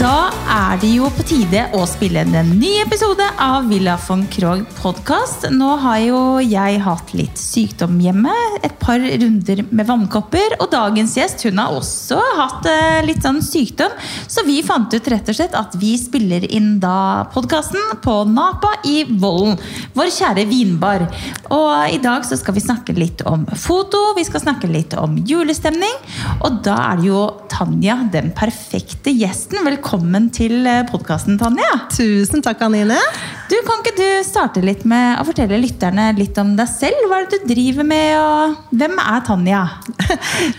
da er det jo på tide å spille inn en ny episode av Villa von Krogh podkast. Nå har jo jeg hatt litt sykdom hjemme, et par runder med vannkopper. Og dagens gjest hun har også hatt eh, litt sånn sykdom, så vi fant ut rett og slett at vi spiller inn da podkasten på Napa i Vollen. Vår kjære vinbar. Og i dag så skal vi snakke litt om foto, vi skal snakke litt om julestemning. Og da er det jo Tanja, den perfekte gjesten. Velkommen til podkasten, Tanja. Tusen takk, Anine. Du, Kan ikke du starte litt med å fortelle lytterne litt om deg selv? Hva er det du driver med, og hvem er Tanja?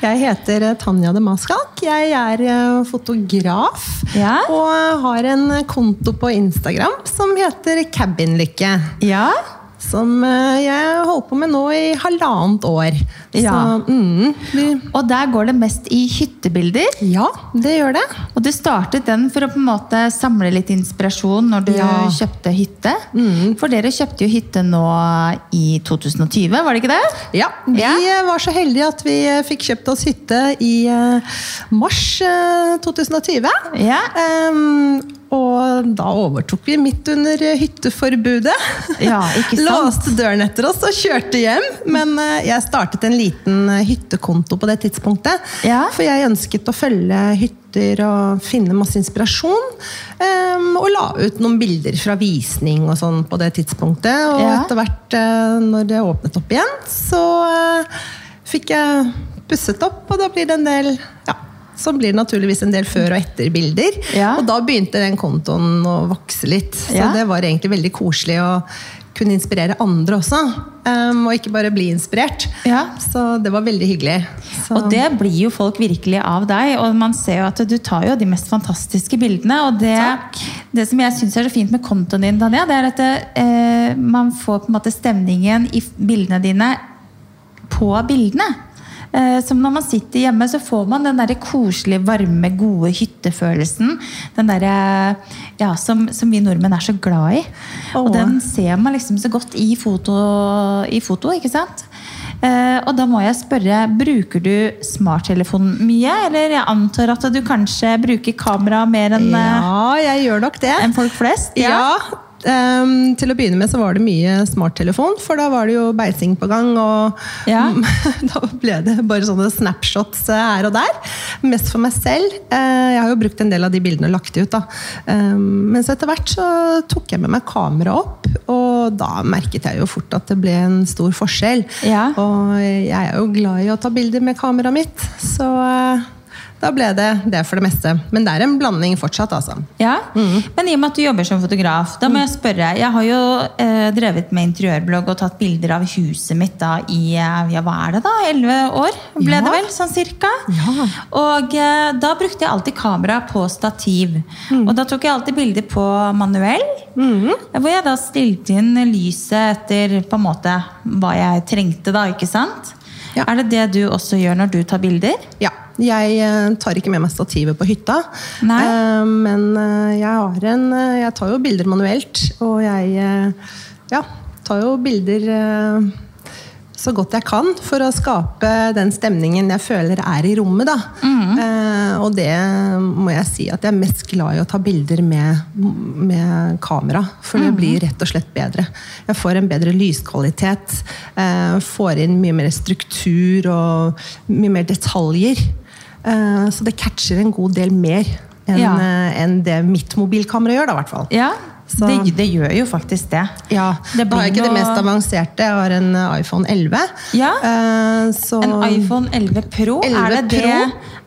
Jeg heter eh, Tanja de Maskalk. Jeg er eh, fotograf Ja. og har en konto på Instagram som heter Cabinlykke. Ja? Som eh, jeg holder på med nå i halvannet år. Ja. Så, mm, vi, Og der går det mest i hyttebilder. ja, det gjør det. Og du startet den for å på en måte samle litt inspirasjon når du Ja. kjøpte hytte. For dere kjøpte jo hytte nå i 2020, var det ikke det? Ja, Vi Ja. eh, var så heldige at vi eh, fikk kjøpt oss hytte i eh, mars eh, 2020. Ja. Em, og da overtok vi midt under eh, hytteforbudet. Ja, ikke sant? Låste døren etter oss og kjørte hjem. Men eh, jeg startet en liten eh, hyttekonto på det tidspunktet. Ja. For jeg ønsket å følge hytter og finne masse inspirasjon. em, og la ut noen bilder fra visning og sånn på det tidspunktet. Og Ja. etter hvert eh, når det åpnet opp igjen, så eh, fikk jeg pusset opp, og da blir det en del ja, så blir det naturligvis en del før og etter bilder. Ja. Og da begynte den kontoen å vokse litt. Så Ja. det var egentlig veldig koselig å kunne inspirere andre også. em, og ikke bare bli inspirert. Ja. Så det var veldig hyggelig. Så, Og eh, det blir jo folk virkelig av deg, og man ser jo at du tar jo de mest fantastiske bildene. Og det, det som jeg syns er så fint med kontoen din, Tanja, det er at eh, man får på en måte stemningen i f- bildene dine på bildene. Eh, Som når man sitter hjemme, så får man den der koselige, varme, gode hyttefølelsen. Den derre ja, som, som vi nordmenn er så glad i. Og Åh. den ser man liksom så godt i foto, i foto ikke sant? Eh, og da må jeg spørre, bruker du smarttelefonen mye? Eller jeg antar at du kanskje bruker kamera mer enn eh, ja, jeg gjør nok det. enn folk flest? Ja. ehm, til å begynne med så var det mye smarttelefon, for da var det jo beising på gang. Og Ja. da ble det bare sånne snapshots eh, her og der. Mest for meg selv. Eh, jeg har jo brukt en del av de bildene og lagt de ut. da. Ehm, men så etter hvert så tok jeg med meg kameraet opp, og da merket jeg jo fort at det ble en stor forskjell. Ja. Og jeg er jo glad i å ta bilder med kameraet mitt, så eh, da ble det det for det meste. Men det er en blanding fortsatt, altså. Ja, Men i og med at du jobber som fotograf, da må Mm. jeg spørre. Jeg har jo eh, drevet med interiørblogg og tatt bilder av huset mitt da i eh, ja, hva er det da, 11 år, ble Ja. det vel? Sånn cirka. Ja. Og eh, da brukte jeg alltid kamera på stativ. Mm. Og da tok jeg alltid bilder på manuell. Hvor jeg da stilte inn lyset etter på en måte hva jeg trengte, da, ikke sant? Ja. Er det det du også gjør når du tar bilder? Ja. Jeg eh, tar ikke med meg stativet på hytta, Nei. Eh, men eh, jeg, har en, eh, jeg tar jo bilder manuelt. Og jeg eh, ja, tar jo bilder eh, så godt jeg kan for å skape den stemningen jeg føler er i rommet. Da. Eh, Og det må jeg si at jeg er mest glad i å ta bilder med, med kamera. For det blir rett og slett bedre. Jeg får en bedre lyskvalitet. eh, Får inn mye mer struktur og mye mer detaljer. Eh, Så det catcher en god del mer enn Ja. eh, enn det mitt mobilkamera gjør, da, i hvert fall. Ja, Så- det, det gjør jo faktisk det. Ja, Det Da har jeg blir ikke det noe- mest avanserte. Jeg har en eh, iPhone 11. Ja. Eh, så... En iPhone 11 Pro? 11 er, det det,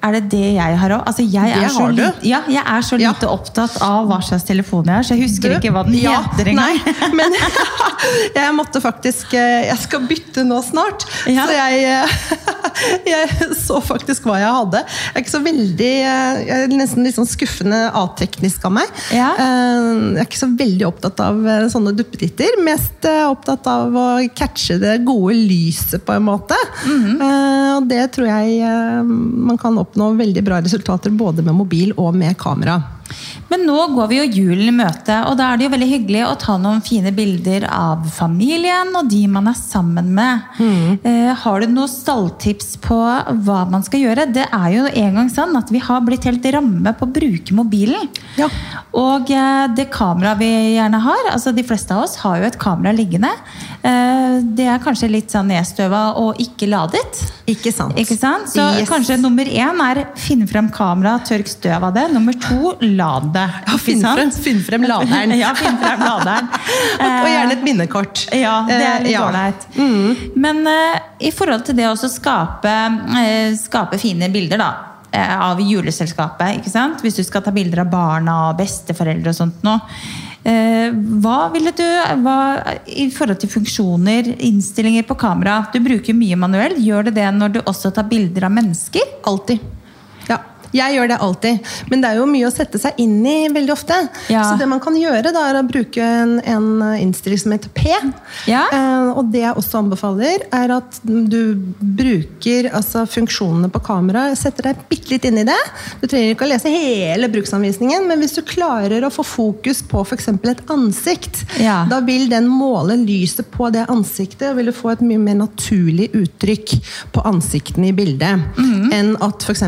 er det det jeg har òg? Altså, jeg er Det så har du. lite- ja, jeg er så Ja. lite opptatt av hva slags telefon jeg har, så jeg husker Du- ikke hva den ja, heter engang. Nei, men jeg måtte faktisk eh, Jeg skal bytte nå snart. Ja. Så jeg, eh, jeg så faktisk hva jeg hadde. Jeg er ikke så veldig eh, jeg er Nesten litt sånn skuffende ateknisk av meg. Ja. Eh, Jeg er ikke så veldig opptatt av eh, sånne duppetitter. Mest eh, opptatt av å catche det gode lyset, på en måte. Mhm. Eh, Og det tror jeg eh, man kan oppnå veldig bra resultater både med mobil og med kamera. Men nå går vi jo julen i møte, og da er det jo veldig hyggelig å ta noen fine bilder av familien og de man er sammen med. Eh, har du noen stalltips på hva man skal gjøre? Det er jo en gang sånn at vi har blitt helt ramme på å bruke mobilen. Ja. Og eh, det kameraet vi gjerne har, altså de fleste av oss har jo et kamera liggende. Eh, det er kanskje litt sånn nedstøva og ikke ladet. Ikke sant. Ikke sant? Så Yes. kanskje nummer én er finne frem kamera, tørk støv av det. Nummer to, lad det. Ja, finn Ikke frem, sant? finn frem laderen. ja, finn frem laderen. og, og gjerne et minnekort. Ja, det Eh, er litt ja. Mm. ålreit. Men eh, i forhold til det å også skape, eh, skape fine bilder, da. eh, Av juleselskapet, ikke sant? Hvis du skal ta bilder av barna og besteforeldre og sånt nå. eh, Hva ville du hva, I forhold til funksjoner, innstillinger på kamera. Du bruker mye manuell. Gjør det det når du også tar bilder av mennesker? Alltid. Ja. Jeg gjør det alltid, men det er jo mye å sette seg inn i veldig ofte. Ja. Så det man kan gjøre, da, er å bruke en, en innstilling som heter P. Ja. Eh, og det jeg også anbefaler, er at du bruker altså, funksjonene på kameraet, setter deg bitte litt inn i det. Du trenger ikke å lese hele bruksanvisningen, men hvis du klarer å få fokus på f.eks. et ansikt, Ja. da vil den måle lyset på det ansiktet, og vil du få et mye mer naturlig uttrykk på ansiktene i bildet. Enn at f.eks.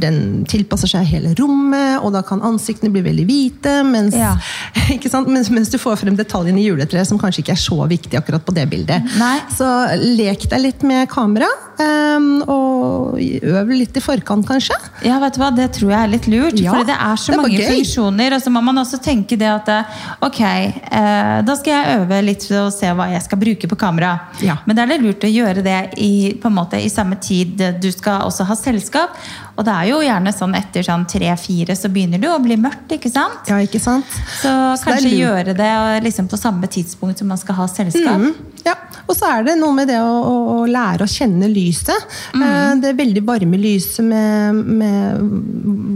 den tilpasser seg hele rommet, og da kan ansiktene bli veldig hvite. Mens, Ja. ikke sant? Mens, mens du får frem detaljene i juletreet som kanskje ikke er så viktig akkurat på det bildet. Nei. Så lek deg litt med kamera, em, og øv litt i forkant, kanskje. Ja, vet du hva, det tror jeg er litt lurt. Ja, for det er så det var mange gøy. funksjoner. Og så må man også tenke det at eh, ok, eh, da skal jeg øve litt og se hva jeg skal bruke på kamera. Ja. Men det er litt lurt å gjøre det i, på en måte, i samme tid du skal også ha selskap. Og det er jo gjerne sånn etter sånn tre-fire så begynner du å bli mørkt, ikke sant? Ja, ikke sant? Så, Så det er kanskje lurt. gjøre det eh, liksom på samme tidspunkt som man skal ha selskap. Mm, ja, og så er det noe med det å, å, å lære å kjenne lyset. Mm. Eh, Det er veldig varme lyset med, med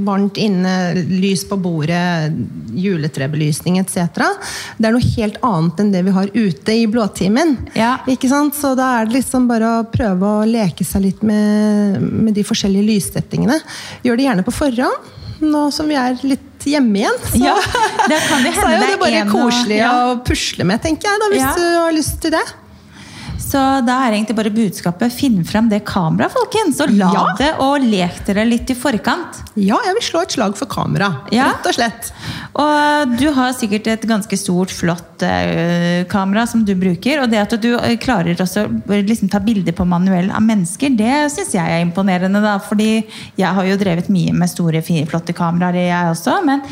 varmt inne, lys på bordet, juletrebelysning etc. Det er noe helt annet enn det vi har ute i blåtimen. Ja. Ikke sant? Så da er det liksom bare å prøve å leke seg litt med, med de forskjellige lyssettingene. Gjør det gjerne på forhånd, nå som vi er litt hjemme igjen. Så. Ja, det kan jo Så hende er jo det det er bare en og- koselig ja. å pusle med, tenker jeg, da, hvis Ja. du har lyst til det. Så da er egentlig bare budskapet finn fram det kameraet, folkens. Og la Ja. det, og lek dere litt i forkant. Ja, jeg vil slå et slag for kamera. Ja. Rett og slett. Og eh, du har sikkert et ganske stort, flott eh, kamera som du bruker. Og det at du eh, klarer også å liksom, ta bilder på manuell av mennesker, det syns jeg er imponerende. da, fordi jeg har jo drevet mye med store, fine, flotte kameraer, jeg også. Men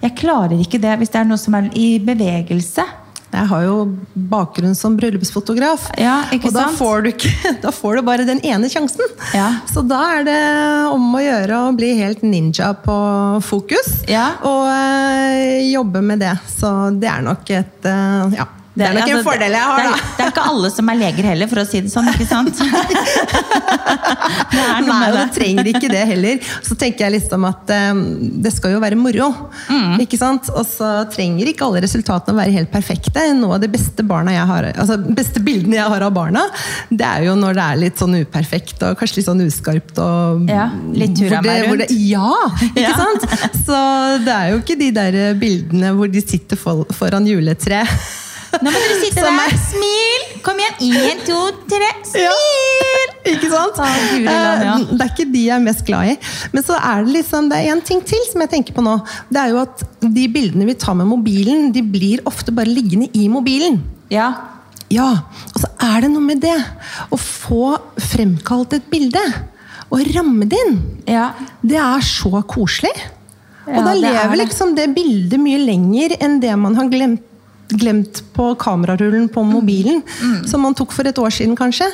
jeg klarer ikke det hvis det er noe som er i bevegelse. Jeg har jo bakgrunn som bryllupsfotograf, Ja, ikke og da sant? får, du ikke, da får du bare den ene sjansen. Ja. Så da er det om å gjøre å bli helt ninja på fokus, Ja. og eh, jobbe med det. Så det er nok et eh, Ja, det, er nok altså, en fordel jeg har, det, da. er- Det er ikke alle som er leger heller, for å si det sånn. ikke sant? det er noe Nei, med og det. du trenger ikke det heller. Så tenker jeg liksom at eh, det skal jo være moro. Mm. Ikke sant? Og så trenger ikke alle resultatene å være helt perfekte. Noe av de beste, barna jeg har, altså, beste bildene jeg har av barna, det er jo når det er litt sånn uperfekt og kanskje litt sånn uskarpt. Og, Ja, litt tur av hvor det- meg rundt. hvor det- Ja! Ikke Ja. sant? Så det er jo ikke de der bildene hvor de sitter for, foran juletreet. Nå må dere sitte Som der. er- Smil! Kom igjen. Én, to, tre. Ja. Smil! Ikke sant? Å, Guri land, ja. Eh, Det er ikke de jeg er mest glad i. Men så er det liksom, det er en ting til som jeg tenker på nå. Det er jo at de bildene vi tar med mobilen, de blir ofte bare liggende i mobilen. Ja. Ja, og så er det noe med det. Å få fremkalt et bilde og ramme det inn. Ja. Det er så koselig. Ja, og da det er lever det. liksom det bildet mye lenger enn det man har glemt, glemt på kamerarullen på mobilen. Som man tok for et år siden, kanskje.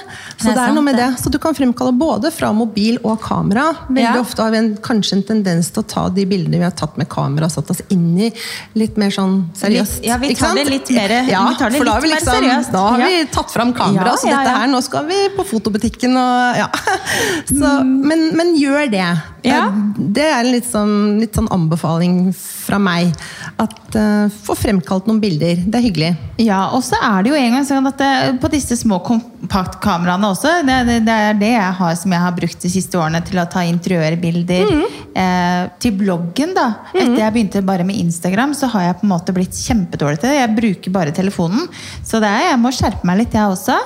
Mm. Det er Så det er, sant, noe med det. det. Så du kan fremkalle både fra mobil og kamera. Veldig Ja. ofte har vi en, kanskje en tendens til å ta de bildene vi har tatt med kamera, og satt oss inn i litt mer sånn seriøst. Litt- ja, vi ikke tar sant? det litt mer- ja, vi tar det for da litt har vi mer liksom, seriøst. Da har Ja. vi tatt fram kamera, Ja, så ja, dette ja. her nå skal vi på fotobutikken og ja. Så, men, men gjør det. Ja. Det er en litt sånn, litt sånn anbefaling fra meg. At eh, Få fremkalt noen bilder. Det er hyggelig. ja og så er det jo en gang sånn at eh, på disse små kom kompaktkameraene også. Det, det, det er det jeg har som jeg har brukt de siste årene til å ta interiørbilder. Mm. Eh, til bloggen, da. Etter jeg begynte bare med Instagram, så har jeg på en måte blitt kjempedårlig til det. Jeg bruker bare telefonen. Så det er, jeg må skjerpe meg litt, jeg også.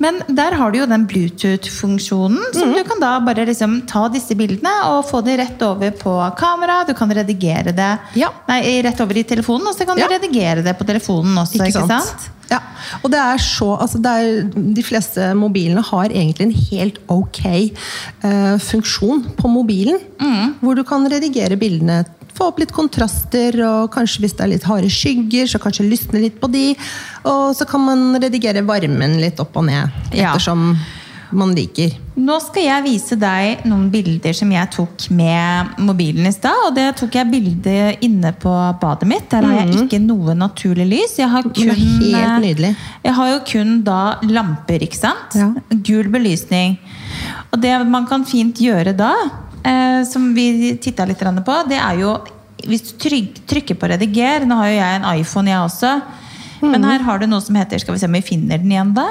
Men der har du jo den Bluetooth-funksjonen, som Mm. du kan da bare liksom ta disse bildene og få de rett over på kamera. Du kan redigere det Ja. Nei, rett over i telefonen, og så kan Ja. du redigere det på telefonen også. Ikke sant? Ja, og det er så, altså det er, De fleste mobilene har egentlig en helt ok eh, funksjon på mobilen. Mm. Hvor du kan redigere bildene, få opp litt kontraster, og kanskje hvis det er litt harde skygger, så kanskje lysne litt på de. Og så kan man redigere varmen litt opp og ned, Ja. ettersom man liker. Nå skal jeg vise deg noen bilder som jeg tok med mobilen i stad. Og det tok jeg bilde inne på badet mitt. Der har jeg ikke noe naturlig lys. Jeg har Mm. det kun, eh, er helt nydelig. Jeg har jo kun da lamper, ikke sant? Ja. Gul belysning. Og det man kan fint gjøre da, eh, som vi titta litt grann på, det er jo Hvis du tryk, trykker på rediger Nå har jo jeg en iPhone, jeg også. Men Mm. her har du noe som heter Skal vi se om vi finner den igjen, da?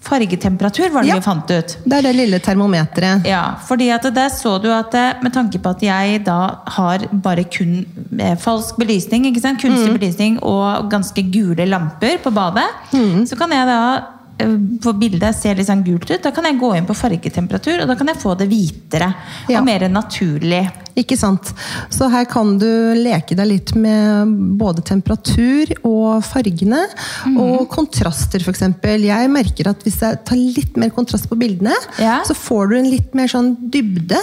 Fargetemperatur var det Ja. vi fant ut. Det er det lille termometeret. Ja, fordi at der så du at eh, med tanke på at jeg da har bare kun eh, falsk belysning, ikke sant? kunstig Mm. belysning og ganske gule lamper på badet, Mm. så kan jeg da eh, på bildet ser litt sånn gult ut, da kan jeg gå inn på fargetemperatur, og da kan jeg få det hvitere Ja. og mer naturlig. Ikke sant? Så her kan du leke deg litt med både temperatur og fargene. Og kontraster, f.eks. Jeg merker at hvis jeg tar litt mer kontrast på bildene, Ja. så får du en litt mer sånn dybde.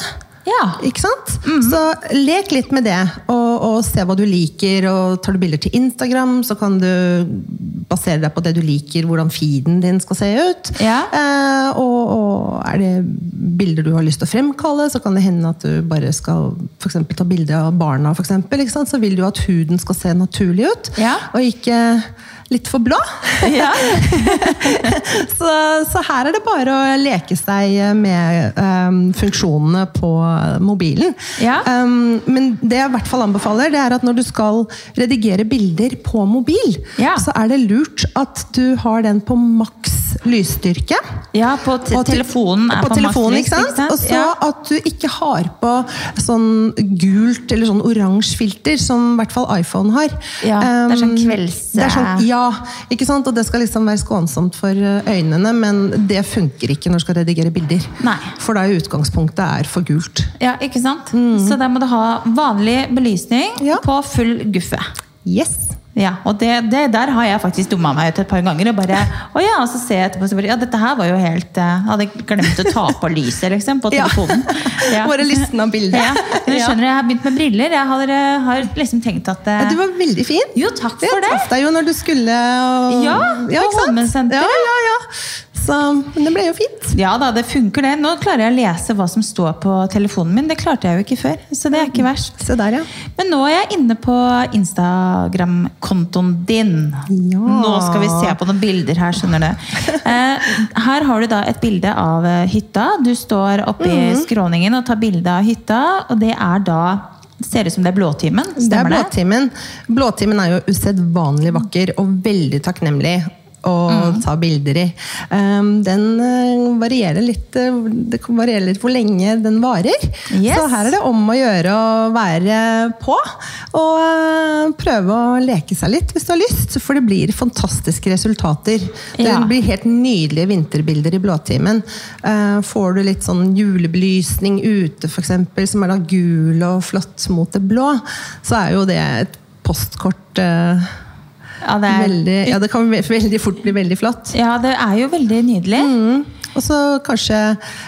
Ja. Mhm. Ikke sant? Så lek litt med det, og, og se hva du liker. og Tar du bilder til Instagram, så kan du basere deg på det du liker, hvordan feeden din skal se ut. Ja. Eh, og, og er det bilder du har lyst til å fremkalle, så kan det hende at du bare skal for eksempel, ta bilde av barna. For eksempel, ikke sant? Så vil du jo at huden skal se naturlig ut, Ja. og ikke litt for blå. Ja. så, så her er det bare å leke seg med eh, funksjonene på mobilen. Ja. Um, men det jeg i hvert fall anbefaler, det er at når du skal redigere bilder på mobil, Ja. så er det lurt at du har den på maks lysstyrke. Ja, på te Og at du- telefonen er på, på, telefonen, makslys, ikke sant? Og så Ja. at du ikke har på sånn gult eller sånn oransje filter, som i hvert fall iPhone har. Ja, det er sånn Um, kvelds- eh, det er sånn, ja, ikke sant? Og det skal liksom være skånsomt for uh, øynene, men det funker ikke når du skal redigere bilder. Nei. For da i utgangspunktet er for gult. Ja, ikke sant? Så der må du ha vanlig belysning Mm. Ja. på full guffe. Yes! Ja, og det, det der har jeg faktisk dumma meg ut et par ganger. Og bare, å ja, og så ser jeg etterpå så bare, ja, dette her var jo helt eh, Hadde glemt å ta på lyset, liksom, på Ja. telefonen. Bare listen av bildet. Ja. Men du Ja. skjønner, jeg har begynt med briller. Jeg har, eh, har liksom tenkt at eh, Ja, Du var veldig fin. Jo, takk Jeg for det. traff deg jo når du skulle og, Ja, på ikke sant? Holmensenteret. Ja, ja, ja. Så, men det ble jo fint. Ja da, det funker det. Nå klarer jeg å lese hva som står på telefonen min. Det klarte jeg jo ikke før, så det er ikke verst. Se der, ja. Men nå er jeg inne på Instagram-kontoen din. Ja. Nå skal vi se på noen bilder her, skjønner du. Eh, her har du da et bilde av eh, hytta. Du står oppe i Mhm. skråningen og tar bilde av hytta, og det er da det Ser ut som det er Blåtimen? Det er Stemmer det? blåtimen. Blåtimen er jo usedvanlig vakker og veldig takknemlig å Mhm. ta bilder i. Um, den eh, varierer litt eh, Det kan variere litt hvor lenge den varer. Yes. Så her er det om å gjøre å være på. Og eh, prøve å leke seg litt hvis du har lyst, for det blir fantastiske resultater. Ja. Det blir helt nydelige vinterbilder i blåtimen. Eh, Får du litt sånn julebelysning ute, f.eks., som er da gul og flott mot det blå, så er jo det et postkort eh, Ja, det er, veldig, Ja, det kan ve- veldig fort bli veldig flott. ja, det er jo veldig nydelig. Mm. Og så kanskje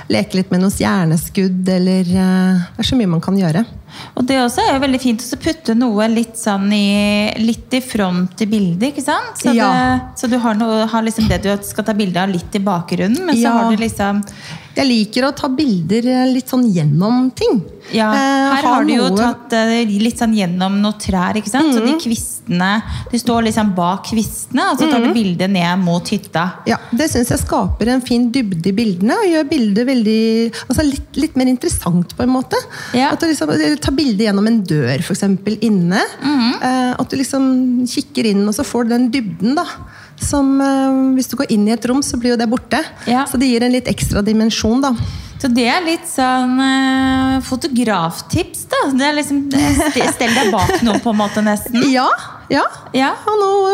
leke litt med noen stjerneskudd, eller eh, Det er så mye man kan gjøre. Og det også er jo veldig fint å putte noe litt sånn i, litt i front i bildet, ikke sant? Så, Ja. det, så du har, noe, har liksom det du skal ta bilde av litt i bakgrunnen, men så Ja. har du liksom Jeg liker å ta bilder eh, litt sånn gjennom ting. Ja, Eh, her ha har du jo noe- tatt eh, litt sånn gjennom noen trær, ikke sant? Så Mhm. de kvistene Du står liksom bak kvistene, og så Mhm. tar du bildet ned mot hytta. Ja, Det syns jeg skaper en fin dybde i bildene og gjør bildet veldig, altså litt, litt mer interessant. på en måte. Ja. At du liksom, eller Ta bilde gjennom en dør, Mhm. f.eks. inne. Eh, at du liksom kikker inn, og så får du den dybden. da. Som, eh, hvis du går inn i et rom, så blir jo det borte. Ja. Så det gir en litt ekstra dimensjon, da. Så det er litt sånn eh, fotograftips, da. Det er liksom, st- Stell deg bak noe, på en måte, nesten. Ja, ja. Ja. Og noe,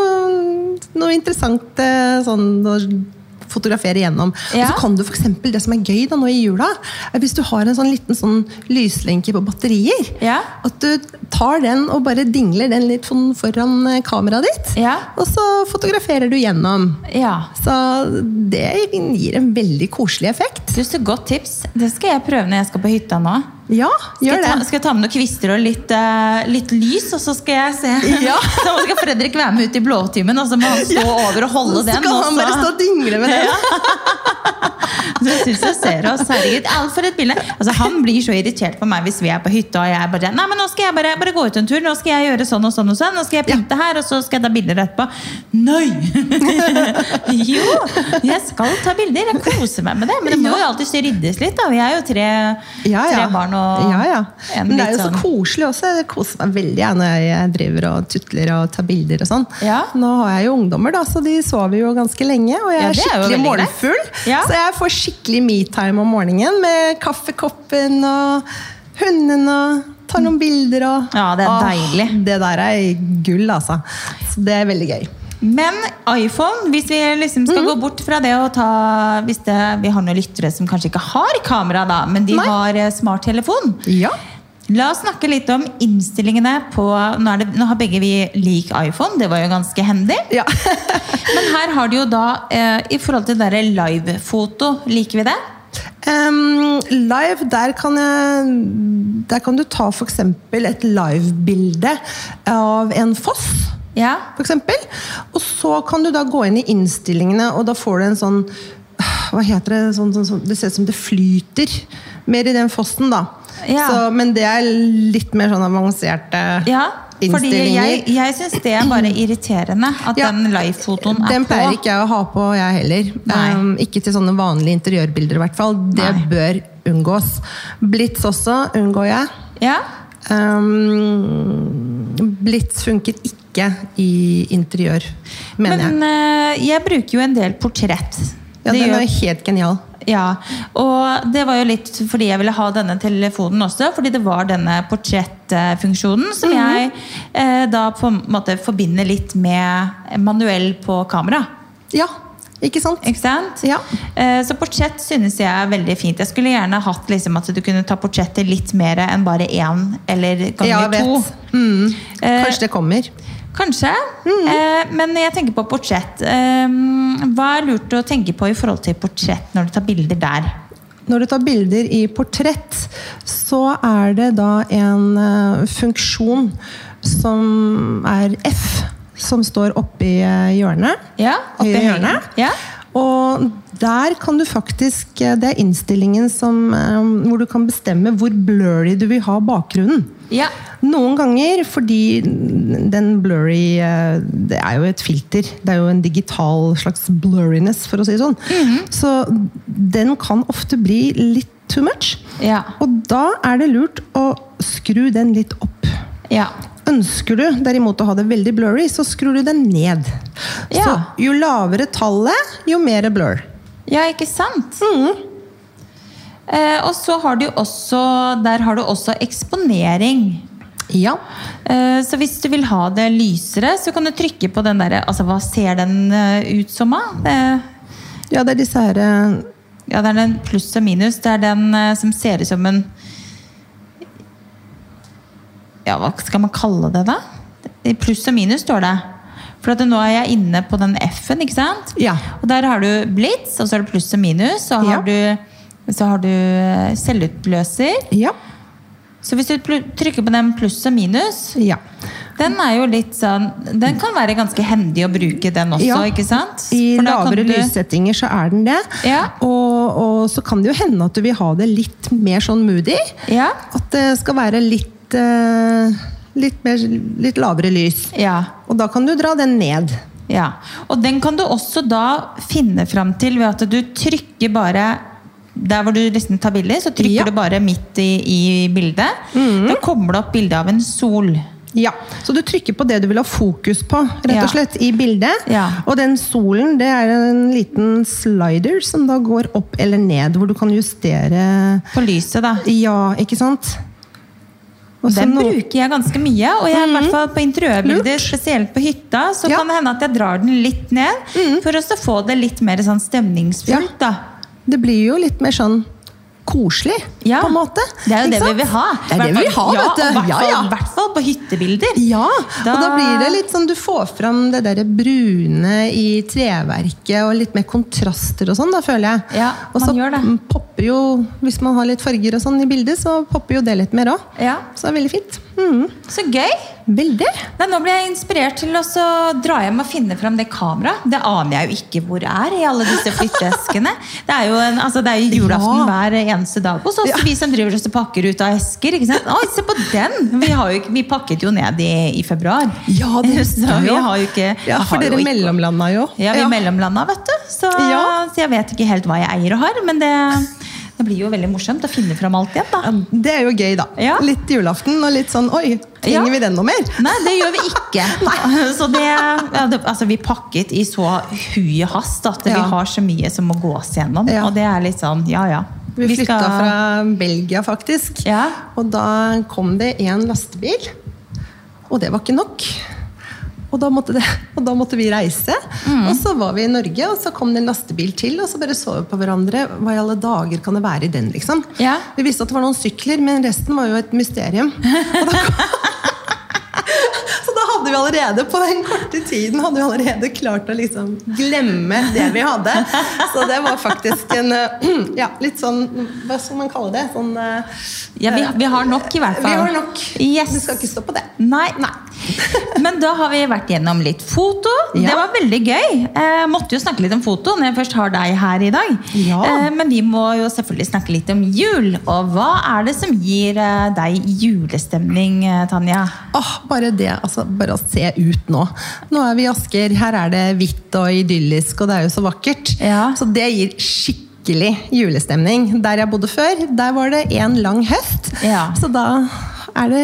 eh, noe interessant eh, sånn å fotografere gjennom. Ja. Og så kan du for eksempel, Det som er gøy da nå i jula, er hvis du har en sånn liten sånn lyslenke på batterier. Ja. At du tar den og bare dingler den litt sånn foran eh, kameraet ditt. Ja. Og så fotograferer du gjennom. ja. Så det gir en veldig koselig effekt. Du, så godt tips. Det skal jeg prøve når jeg skal på hytta nå. Ja, Skal, gjør jeg det. ta, skal jeg ta med noen kvister og litt, eh, litt lys, og så skal jeg se Ja. Så skal Fredrik være med ut i blåtimen, og så må han stå over og holde Så den. kan og han bare så- stå og dingle med den. Du syns Altså, jeg ser oss, herregud. Alt for et bilde. Altså, han blir så irritert på meg hvis vi er på hytta og jeg bare Nei, men nå skal jeg bare, bare gå ut en tur. Nå skal jeg gjøre sånn og sånn og sånn. Nå skal jeg pynte her, og så skal jeg ta bilder etterpå. Nei! jo, jeg skal ta bilder. Jeg koser meg med det. Men det må jo alltid ryddes litt, da. Vi er jo tre, Ja, ja. tre barn og ja, ja. en Men det er litt jo så sånn koselig også. Jeg koser meg veldig jeg, når jeg driver og tutler og tar bilder og sånn. Ja. Nå har jeg jo ungdommer, da, så de sover jo ganske lenge. Og jeg Ja, er det er jo skikkelig veldig greit. morgenfull, Ja. så jeg får skikkelig metime om morgenen med kaffekoppen og hunden og tar noen bilder og Ja, det er Åh, deilig. Det der er gull, altså. Så det er veldig gøy. Men iPhone, hvis vi liksom Mhm. skal gå bort fra det å ta hvis det, Vi har noen lyttere som kanskje ikke har kamera, da, men de Nei. har eh, smarttelefon. Ja. La oss snakke litt om innstillingene på Nå, er det, nå har begge vi lik iPhone, det var jo ganske hendig. Ja. Men her har du jo da, eh, i forhold til det der livefoto, liker vi det? Em, live, der kan, jeg, der kan du ta f.eks. et livebilde av en foss. Ja. For eksempel. og så kan du da gå inn i innstillingene, og da får du en sånn Hva heter det? Sånn, sånn, sånn, det ser ut som det flyter mer i den fossen, da. Ja. Så, men det er litt mer sånn avanserte ja. Fordi innstillinger. jeg, jeg syns det er bare irriterende at Ja. den livefotoen er Den pleier på. ikke jeg å ha på, jeg heller. Nei. Ehm, ikke til sånne vanlige interiørbilder, i hvert fall. Det Nei. bør unngås. Blitz også unngår jeg. Ja. Ehm, Blitz funker ikke i interiør, mener jeg. Men eh, jeg bruker jo en del portrett. Ja, Det den gjør- er helt genial. Ja, og det var jo litt fordi jeg ville ha denne telefonen også, fordi det var denne portrettfunksjonen Mhm. som jeg eh, da på en måte forbinder litt med manuell på kamera. Ja, ikke sant? Ikke sant? Ja. Eh, så portrett synes jeg er veldig fint. Jeg skulle gjerne hatt liksom, at du kunne ta portretter litt mer enn bare én eller Ja, ganger jeg to. vet. Mm. Eh, Kanskje det kommer. Kanskje. Mhm. Eh, men jeg tenker på portrett. Eh, hva er lurt å tenke på i forhold til portrett når du tar bilder der? Når du tar bilder i portrett, så er det da en eh, funksjon som er F, som står oppi eh, hjørnet. Ja, oppe i Høyre hjørne. høyre. Ja. Og der kan du faktisk eh, Det er innstillingen som, eh, hvor du kan bestemme hvor blurry du vil ha bakgrunnen. Ja. Noen ganger, fordi den blurry eh, Det er jo et filter. Det er jo en digital slags blurriness, for å si det sånn. Så den kan ofte bli litt too much. Ja. Og da er det lurt å skru den litt opp. ja. Ønsker du derimot å ha det veldig blurry, så skrur du den ned. Så Ja. jo lavere tallet, jo mer blur. Ja, ikke sant? Eh, og så har du jo også Der har du også eksponering. Ja. Eh, så hvis du vil ha det lysere, så kan du trykke på den derre Altså, hva ser den eh, ut som, da? Eh, Ja, det er disse her eh, ja, det er den pluss og minus. Det er den eh, som ser ut som en Ja, hva skal man kalle det, da? I Pluss og minus står det. For at nå er jeg inne på den F-en, ikke sant? Ja. Og der har du blitz, og så er det pluss og minus. Så Ja. har, du, så har du eh, selvutløser. Ja. Så hvis du pl- trykker på den pluss og minus ja. den er jo litt sånn Den kan være ganske hendig å bruke, den også, Ja. ikke sant? I For da kan lavere du- lyssettinger så er den det. Ja. Og, og så kan det jo hende at du vil ha det litt mer sånn moody. Ja. At det skal være litt eh, litt, mer, litt lavere lys. ja. Og da kan du dra den ned. Ja. Og den kan du også da finne fram til ved at du trykker bare der hvor du liksom tar bilder, så trykker Ja. Mm. du bare midt i, i bildet. Da kommer det opp bilde av en sol. Ja, Så du trykker på det du vil ha fokus på rett Ja. og slett, i bildet. Ja. Og den solen det er en liten slider som da går opp eller ned, hvor du kan justere På lyset, da. Ja, ikke sant? Og så Den no- bruker jeg ganske mye, og jeg, i hvert fall på interiørbilder, spesielt på hytta, så Ja. Mhm. kan det hende at jeg drar den litt ned, for også å få det litt mer sånn stemningsfullt. da. Det blir jo litt mer sånn koselig, Ja. på en måte. Det er jo Ikke det vi sant? vil ha. Det er det vi vil ja, ha, vet du. og hvertfall- Ja, ja. hvertfall på hyttebilder. Ja, Da- og da blir det litt sånn du får fram det derre brune i treverket og litt mer kontraster og sånn, da føler jeg. Ja, og så man gjør det. m, popper jo, hvis man har litt farger og sånn i bildet, så popper jo det litt mer òg. Ja. Så det er veldig fint. Mm. Så gøy! Veldig. Nei, nå ble jeg inspirert til å så dra hjem og finne fram det kameraet. Det aner jeg jo ikke hvor er i alle disse flytteeskene. Det er jo, en, altså, det er jo julaften Ja. hver eneste dag hos oss, vi som driver oss og pakker ut av esker. ikke sant? Oi, se på den! Vi, har jo, ikke- vi pakket jo ned i, i februar. Ja, det Så gjør vi vi jo. har jo ikke Ja, jeg for har dere jo ikke- mellomlanda jo. Ja, vi mellomlanda, vet du. Så, Ja. så jeg vet ikke helt hva jeg eier og har, men det, det blir jo veldig morsomt å finne fram alt igjen, da. Det er jo gøy, da. Ja. Litt julaften og litt sånn Oi, trenger Ja. vi den noe mer? Nei, det gjør vi ikke. Så det, ja, det, altså, vi pakket i så hui hast at vi Ja. har så mye som må gås gjennom. Ja. Og det er litt sånn, ja ja. Vi Vi flytta skal- fra Belgia, faktisk. Ja. Og da kom det en lastebil, og det var ikke nok. Og da måtte, det, og da måtte vi reise. Mm. Og så var vi i Norge, og så kom det en lastebil til, og så bare så vi på hverandre. Hva i alle dager kan det være i den, liksom? Ja. Vi visste at det var noen sykler, men resten var jo et mysterium. Og da kom... Så da hadde vi allerede på den korte tiden hadde vi allerede klart å liksom glemme det vi hadde. Så det var faktisk en eh, ja, litt sånn Hva skal man kalle det? Sånn eh, Ja, vi, vi har nok, i hvert fall. Vi har nok. Yes. Du skal ikke stå på det. Nei. Men da har vi vært gjennom litt foto. Det Ja. var veldig gøy. Eh, måtte jo snakke litt om foto når jeg først har deg her i dag. Ja. Eh, men vi må jo selvfølgelig snakke litt om jul. Og hva er det som gir eh, deg julestemning, eh, Tanja? Åh, bare det, altså, bare å se ut nå. Nå er vi i Asker, her er det hvitt og idyllisk, og det er jo så vakkert. Ja. Så det gir skikkelig julestemning. Der jeg bodde før, der var det en lang høst. Ja. Så da er det,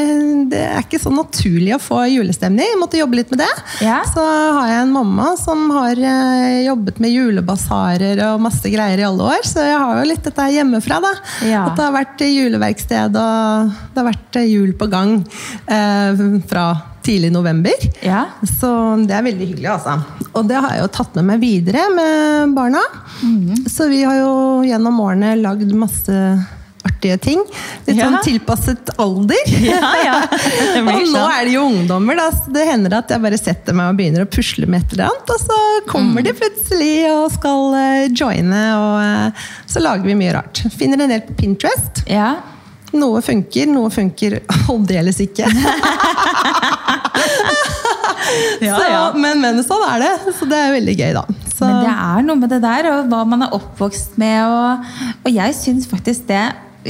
det er ikke så naturlig å få julestemning. Jeg måtte jobbe litt med det. Ja. Så har jeg en mamma som har eh, jobbet med julebasarer og masse greier i alle år, så jeg har jo litt dette her hjemmefra, da. Ja. At det har vært juleverksted, og det har vært jul på gang eh, fra tidlig november. Ja. Så det er veldig hyggelig, altså. Og det har jeg jo tatt med meg videre med barna. Mhm. Så vi har jo gjennom årene lagd masse artige ting. Litt Ja. sånn tilpasset alder. Ja, ja. Det blir og nå sånn. er det jo ungdommer, da, så det hender at jeg bare setter meg og begynner å pusle med et eller annet, og så Mm. kommer de plutselig og skal eh, joine, og eh, så lager vi mye rart. Finner en del på Pinterest. Ja. Noe funker, noe funker aldeles ikke. Ja, så, ja. Men, men sånn er det. Så det er veldig gøy, da. Så, Men det er noe med det der, og hva man er oppvokst med. Og, og jeg syns faktisk det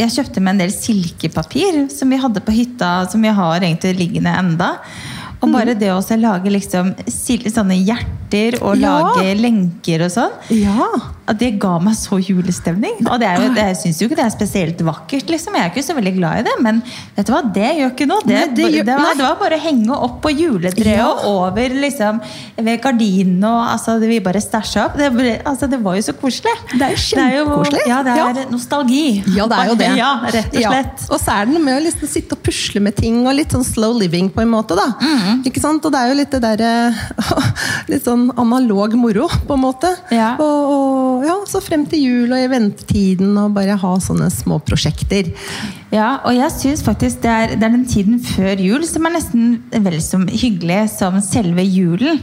Jeg kjøpte meg en del silkepapir som vi hadde på hytta, som vi har egentlig liggende enda. Mm. Og bare det å også lage liksom sil- sånne hjerter og Ja. lage lenker og sånn, Ja. at det ga meg så julestemning. Og det er jo, det- jeg syns jo ikke det er spesielt vakkert, liksom. jeg er ikke så veldig glad i det, men vet du hva, det gjør ikke noe. Det, Nei, det det, gjør- nei. var, det var bare å henge opp på juletreet Ja. og over liksom, ved gardinene. Og altså, det- vi bare stæsja opp. Det, ble, altså, det var jo så koselig. Det er jo- jo kjempekoselig. Ja, det er Ja. nostalgi. Ja, det er jo det. Ja, rett og Ja. slett. Og så er det noe med å liksom sitte og pusle med ting, og litt sånn slow living på en måte, da. Mm. Ikke sant? Og det er jo litt det derre Litt sånn analog moro, på en måte. Ja. Og, og ja, så frem til jul og i ventetiden, og bare ha sånne små prosjekter. Ja, og jeg synes faktisk det er, det er den tiden før jul som er nesten vel så hyggelig som selve julen.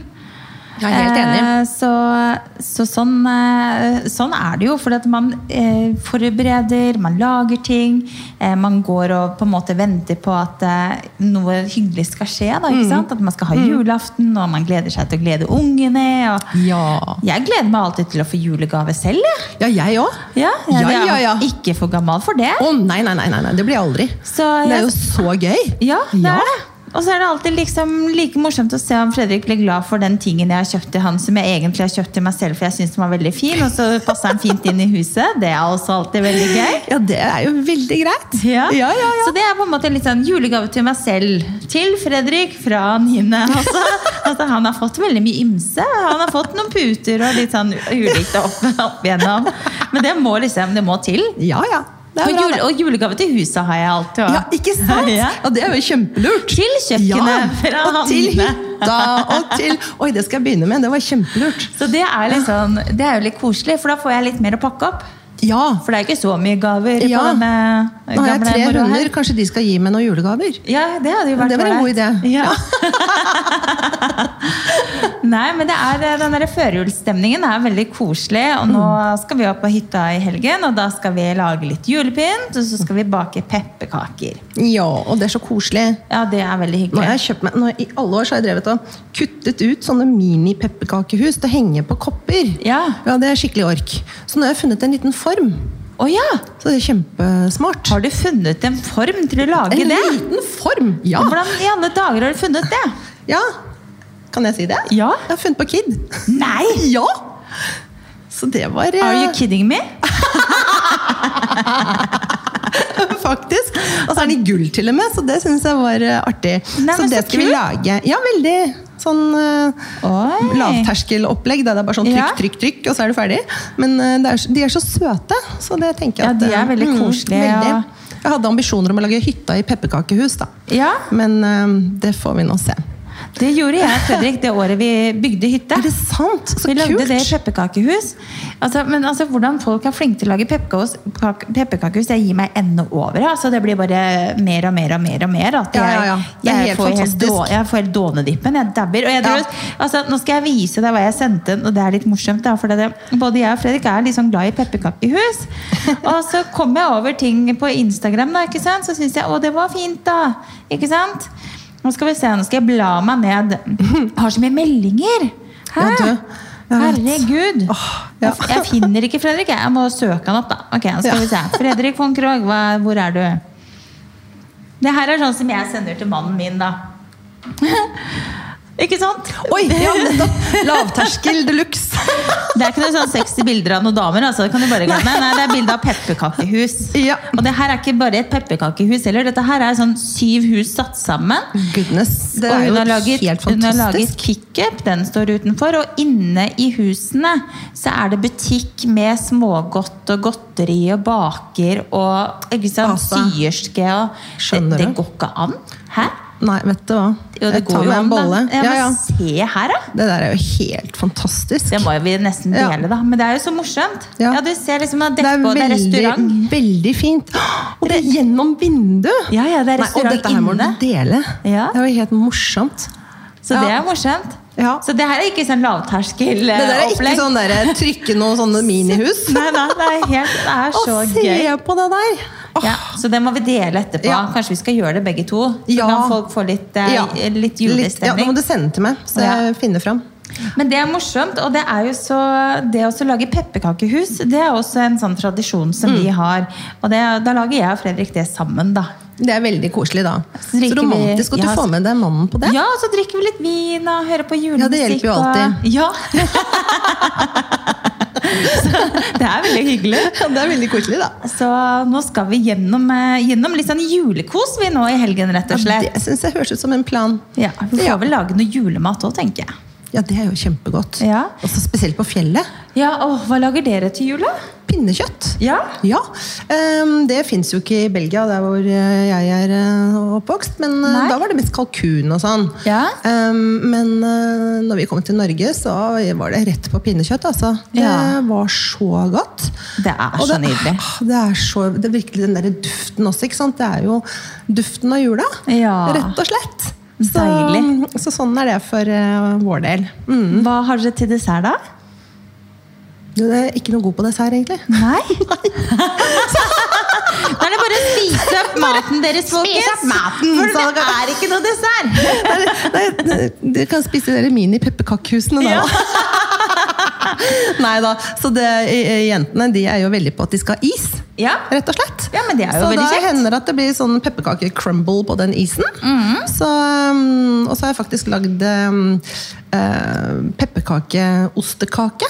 Jeg er helt enig. Eh, Så, så sånn, eh, sånn er det jo. For at man eh, forbereder, man lager ting. Eh, man går og på en måte venter på at eh, noe hyggelig skal skje. Da, Mm. ikke sant? At man skal ha julaften, og man gleder seg til å glede ungene. Og Ja. Jeg gleder meg alltid til å få julegave selv. jeg. Eh, Ja, jeg òg. Ja, jeg Ja, jeg er ja, ja. Ikke for gammel for det. Å nei, nei, nei, nei, nei, det blir jeg aldri. Så Det jeg- er jo så gøy. Ja, det Ja. er det. Og så er det alltid liksom like morsomt å se om Fredrik blir glad for den tingen jeg har kjøpt til han som jeg egentlig har kjøpt til meg selv, for jeg syns den var veldig fin, og så passer den fint inn i huset. Det er også alltid veldig gøy. Ja, det er jo veldig greit. Ja. ja, ja. ja. Så det er på en måte litt sånn julegave til meg selv. Til Fredrik fra Nine. Altså, altså han har fått veldig mye ymse. Han har fått noen puter og litt sånn ulikt opp, opp igjennom. Men det må liksom, det må til. ja, ja. Det Og, er bra, jule, det. og julegave til huset har jeg alltid. også. Ja, ikke sant? Ja. Og det er jo kjempelurt. Til kjøkkenet Ja, fra og til Hanne. hytta. Og til Oi, det skal jeg begynne med. Det var kjempelurt. Så det er, liksom, det er jo litt koselig, for da får jeg litt mer å pakke opp. Ja. For det er ikke så mye gaver Ja. på denne Nå har jeg gamle tre moroa her. runder. Kanskje de skal gi meg noen julegaver? Ja, det hadde jo Men vært det var en god ålreit. idé. Ja. Nei, men det er, eh, den der førjulsstemningen er veldig koselig. Og Mm. nå skal vi opp på hytta i helgen, og da skal vi lage litt julepynt. Og så skal vi bake pepperkaker. Ja, og det er så koselig. Ja, det er veldig Nå har hyggelig. jeg kjøpt meg, nå, I alle år så har jeg drevet og kuttet ut sånne mini-pepperkakehus til å henge på kopper. Ja. Det er skikkelig ork. Så nå har jeg funnet en liten form. Å ja! Så det er kjempesmart. Har du funnet en form til å lage en det? liten form! Ja. Hvordan i alle dager har du funnet det? ja! Kan jeg si det? Ja. Jeg har funnet på Kid. Nei! Ja! Så det var eh, Are you kidding me? faktisk. Og så er den i gull til og med, så det syns jeg var eh, artig. Nei, så men det så skal vi kult. lage. Ja, veldig sånn uh, Oi. lavterskelopplegg. der Det er bare sånn Ja. trykk, trykk, trykk, og så er du ferdig. Men eh, det er, så- de er så søte, så det tenker jeg Ja, at de er eh, veldig koselige, veldig. ja. Jeg hadde ambisjoner om å lage hytta i pepperkakehus, da. Ja, Men eh, det får vi nå se. det gjorde jeg, Fredrik, det året vi bygde hytte. Er det sant? Så vi lagde kult! det i pepperkakehus. Altså, men altså, hvordan folk er flinke til å lage pepperkakehus, kak- pepperkakehus det gir meg ende over. Altså, det blir bare mer og mer og mer. og mer at Ja, jeg, ja, ja. Det er jeg, helt får helt fantastisk. då, jeg får helt dånedippen. Jeg dabber. Og jeg Ja. driver- altså, nå skal jeg vise deg hva jeg sendte, og det er litt morsomt. Da, for det, det- både jeg og Fredrik er litt sånn glad i pepperkakehus. Og så kom jeg over ting på Instagram, da, ikke sant? så syns jeg å, det var fint, da. Ikke sant? Nå skal vi se, nå skal jeg bla meg ned. Jeg har så mye meldinger! Hæ? Ja, du, jeg vet. Herregud! Åh, ja. jeg, jeg finner ikke Fredrik. Jeg må søke han opp, da. Ok, nå skal Ja. vi se. Fredrik von Krogh, hva- hvor er du? Det her er sånn som jeg sender til mannen min, da. ikke sant? Oi! Ja, nettopp! Lavterskel de luxe. Det er ikke noe sånn sexy bilder av noen damer. Altså. Det kan du bare glemme. Nei, det er bilde av pepperkakehus. Ja. Og det her er ikke bare et pepperkakehus heller. Dette her er sånn syv hus satt sammen. Goodness. Det og er hun jo har laget, helt hun har fantastisk. laget pickup, den står utenfor. Og inne i husene så er det butikk med smågodt og godteri og baker og ikke sant, Altså. syerske og Skjønner det, det du? går ikke an. Hæ? Nei, vet du hva. Jo, det jeg går tar jo meg en an, da. bolle. Ja, Ja, men ja. Se her, da. Det der er jo helt fantastisk. Det må jo vi nesten Ja. dele, da. Men det er jo så morsomt. Ja. Ja, du ser liksom at dekk på, det er restaurant. veldig fint. Og det er gjennom vindu! Ja, ja, det er restaurant Nei, og dette her må du inne. dele. Ja. Det er jo helt morsomt. Så Ja. det er morsomt. Ja. Så det her er ikke sånn eh, Det der er ikke lavterskelopplegg. sånn der, trykke noen sånne minihus. Nei, nei, det er, helt, det er Å, så gøy. se på det der! Åh, Ja, så det må vi dele etterpå. Ja. Kanskje vi skal gjøre det begge to? Så Ja. kan folk få litt, eh, ja. litt ja, nå julestemning. må du sende den til meg, så jeg finner fram. Men det er morsomt, og det er jo så Det å så lage pepperkakehus, det er også en sånn tradisjon som Mm. vi har. Og det, da lager jeg og Fredrik det sammen, da. Det er veldig koselig, da. Så Så, drikker vi- romantisk at du Ja, får med deg mannen på det. Ja, og så drikker vi litt vin og hører på julemusikk. Ja, det hjelper jo og- alltid. Ja. så det er veldig hyggelig. det er veldig koselig, da. Så nå skal vi gjennom, eh, gjennom litt sånn julekos vi nå i helgen, rett og slett. Det syns jeg høres ut som en plan. Ja, Vi får vel lage noe julemat òg, tenker jeg. Ja, det er jo kjempegodt. Ja. Og så spesielt på fjellet. Ja, og Hva lager dere til jul, da? Pinnekjøtt. Ja. Ja, ehm, Det fins jo ikke i Belgia, der hvor eh, jeg er eh, oppvokst. Men eh, Nei. da var det mest kalkun og sånn. Ja. Ehm, Men eh, når vi kom til Norge, så var det rett på pinnekjøtt. altså. Det Ja. var så godt. Det er Og så nydelig. ah, Det er så, det er virkelig den der duften også. ikke sant? Det er jo duften av jula, Ja. rett og slett. Så, Deilig. så sånn er det for eh, vår del. Mm. Hva har dere til dessert, da? Du er ikke noe god på dessert, egentlig. Nei? Da er det bare å spise opp maten deres, folkens. Spis opp maten, For så det er ikke noe dessert. Nei, nei, Dere kan spise dere mini-pepperkakehusene da. Ja. Nei da. Så det, eh, jentene de er jo veldig på at de skal ha is, Ja. rett og slett. Ja, men det er jo så veldig da kjekt. hender det at det blir sånn pepperkake-crumble på den isen. Mhm. Så, um, og så har jeg faktisk lagd um, eh, pepperkakeostekake.